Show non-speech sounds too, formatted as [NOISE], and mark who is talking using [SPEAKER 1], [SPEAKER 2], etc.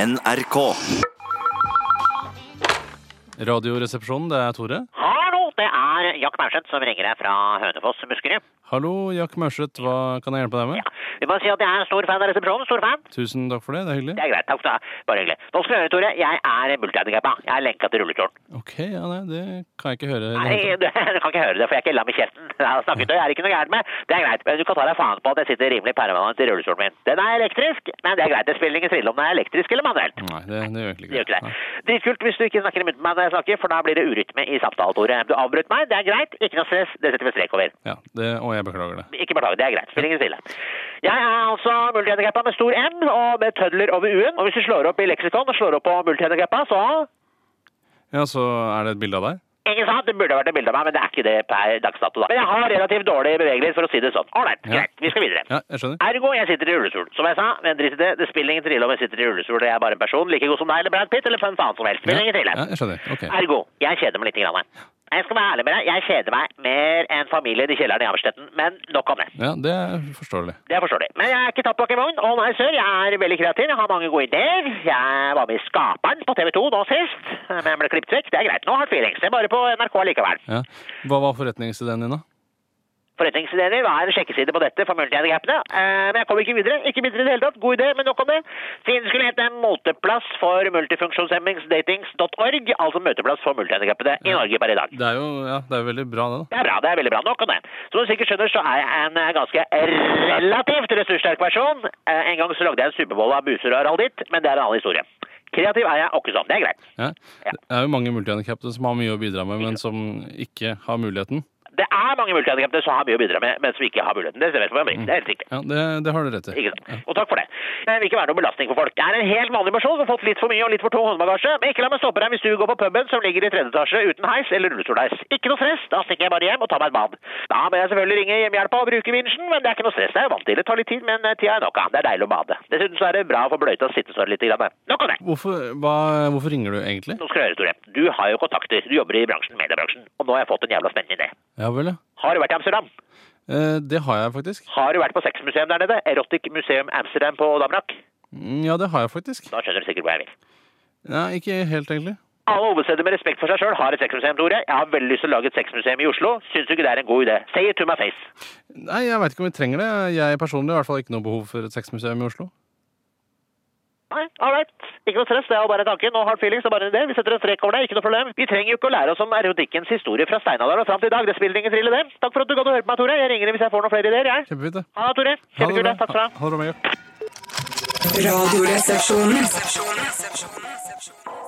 [SPEAKER 1] NRK.
[SPEAKER 2] Radioresepsjonen, det er Tore.
[SPEAKER 3] Hallo, det er Jack Maurseth som ringer deg fra Hønefoss, Buskerud.
[SPEAKER 2] Hallo, Jack Mørseth, hva kan jeg hjelpe deg med?
[SPEAKER 3] Vi må si at jeg er en stor fan av resepsjonen. Stor fan.
[SPEAKER 2] Tusen takk for det, det er hyggelig.
[SPEAKER 3] Det er greit. Takk skal du ha. Bare hyggelig. Nå skal du høre, Tore. Jeg er multihandikappa. Jeg er lenka til rullekjolen.
[SPEAKER 2] Ok, ja, nei, det kan jeg ikke høre. i det
[SPEAKER 3] Nei, [LAUGHS]
[SPEAKER 2] hele tatt.
[SPEAKER 3] du, du kan ikke høre det, for jeg er ikke lam i kjeften. Jeg har snakket, og jeg er ikke noe gærent med. Det er greit. Men du kan ta deg faen på at jeg sitter rimelig permanent i rullekjolen min. Den er elektrisk, men det er greit. Det spiller ingen tvil om den er elektrisk eller manuelt.
[SPEAKER 2] Nei, det, det gjør egentlig
[SPEAKER 3] Det gjør
[SPEAKER 2] ikke
[SPEAKER 3] ikke
[SPEAKER 2] det.
[SPEAKER 3] det. Dritkult hvis du ikke snakker i munnen på meg når jeg snakker, for da blir det urytme i samtalen, Tore. Du avbrøt meg, det er greit. Ikke noe stress, det setter vi strek over.
[SPEAKER 2] Ja, det, og jeg beklager det.
[SPEAKER 3] Ikke beklager, det er greit. Spiller ingen stille. Jeg er altså multihandikappa med stor M og med tødler over U-en. Og hvis du slår opp i leksikon og slår opp på multihandikappa, så
[SPEAKER 2] Ja, så er det et bilde av deg?
[SPEAKER 3] Ingen sant, det burde vært et bilde av meg, men det er ikke det per dags dato, da. Men jeg har relativt dårlig bevegelighet, for å si det sånn. Ålreit,
[SPEAKER 2] Ja.
[SPEAKER 3] greit. Vi skal videre.
[SPEAKER 2] Ja, jeg skjønner.
[SPEAKER 3] Ergo, jeg sitter i rullestol. Som jeg sa, men drit i det. Det spiller ingen trille om jeg sitter i rullestol. Jeg er bare en person like god som deg eller Brad Pitt eller hvem faen som helst. Spiller
[SPEAKER 2] Ja,
[SPEAKER 3] ingen trille.
[SPEAKER 2] ja, jeg skjønner. Ok.
[SPEAKER 3] Ergo, jeg kjeder meg litt. Grann. Jeg skal være ærlig med deg, jeg kjeder meg mer enn familien i kjelleren i Hammerstetten. Men nok om det.
[SPEAKER 2] Ja, det er forståelig.
[SPEAKER 3] Det forstår de. Men jeg er ikke tappbakke i vogn. Å nei, sør. Jeg er veldig kreativ. Jeg har mange gode ideer. Jeg var med i Skaperen på TV 2 nå sist. Men jeg ble klippet vekk. Det er greit. Nå har jeg feelings. Jeg er bare på NRK likevel.
[SPEAKER 2] Ja. Hva var forretningsideen din, da?
[SPEAKER 3] Forretningsideer var en sjekkeside på dette for multihandikapene. Eh, men jeg kom ikke videre. Ikke videre i det hele tatt. God idé, men nok om det. Siden skulle hete Molteplass for multifunksjonshemmingsdatings.org. Altså møteplass for multihandikappede i Norge per i dag.
[SPEAKER 2] Det er jo ja, det er jo veldig bra, det, da.
[SPEAKER 3] Det er bra, det er veldig bra. Nok om det. Som du sikkert skjønner, så er jeg en eh, ganske relativt ressurssterk person. Eh, En gang så lagde jeg en superbowl av buser og Harald Ditt, men det er en annen historie. Kreativ er jeg åkke som. Det er greit.
[SPEAKER 2] Ja. Det er jo mange multihandikappede som har mye å bidra med, men som ikke har muligheten.
[SPEAKER 3] Det er mange multihandikappede som har mye å bidra med, men som ikke har muligheten. Det stemmer. for meg. Det er helt riktig.
[SPEAKER 2] Ja, det, det har du rett i.
[SPEAKER 3] Ikke sant? Og takk for det. Jeg vil ikke være noen belastning for folk. Jeg er en helt vanlig person som har fått litt for mye og litt for tung håndbagasje, men ikke la meg stoppe deg hvis du går på puben som ligger i tredje etasje uten heis eller rullestolheis. Ikke noe stress, da stikker jeg bare hjem og tar meg et bad. Da må jeg selvfølgelig ringe hjemmehjelpa og bruke vinsjen, men det er ikke noe stress. Det er jeg vant til. Det tar litt tid, men eh, tida er nok av. Det er deilig å bade. Dessuten så er det bra for bløyta å sitte sånn litt. Grann. Nok om det.
[SPEAKER 2] Hvorfor, hva, hvorfor ringer du egentlig?
[SPEAKER 3] Nå skal du høre, Tore. Du har jo kontakter. Du jobber i bransjen, mediebransjen. Og nå har jeg fått en jævla spennende idé.
[SPEAKER 2] Ja vel, ja.
[SPEAKER 3] Har du vært i Amsterdam?
[SPEAKER 2] Eh, det har jeg faktisk.
[SPEAKER 3] Har du vært på sexmuseum der nede? Erotic Museum Amsterdam på Damrak?
[SPEAKER 2] Mm, Ja, det har jeg faktisk.
[SPEAKER 3] Da skjønner du sikkert hvor jeg vil.
[SPEAKER 2] Nei, ikke helt, egentlig.
[SPEAKER 3] Alle hovedsteder med respekt for seg sjøl har et sexmuseum, Tore. Jeg har veldig lyst til å lage et sexmuseum i Oslo. Syns du ikke det er en god idé? Say it to my face.
[SPEAKER 2] Nei, jeg veit ikke om vi trenger det. Jeg personlig har i hvert fall ikke noe behov for et sexmuseum i Oslo.
[SPEAKER 3] Nei, all right. Ikke noe stress, det er jo bare en tanke. No hard feelings, det er bare en idé. Vi setter en strek over det, ikke noe problem. Vi trenger jo ikke å lære oss om erotikkens historie fra steinalderen og fram til i dag. Det spiller ingen trill i det. Takk for at du gadd å høre på meg, Tore. Jeg ringer deg hvis jeg får noen flere ideer, jeg.
[SPEAKER 2] Kjempefint, det.
[SPEAKER 3] Ha det, Tore.
[SPEAKER 2] Ha det
[SPEAKER 3] Kjempekult.
[SPEAKER 2] bra.
[SPEAKER 3] det. Takk skal du ha.
[SPEAKER 2] Ha- ha det bra, Jakob.
[SPEAKER 4] Radioresepsjonen.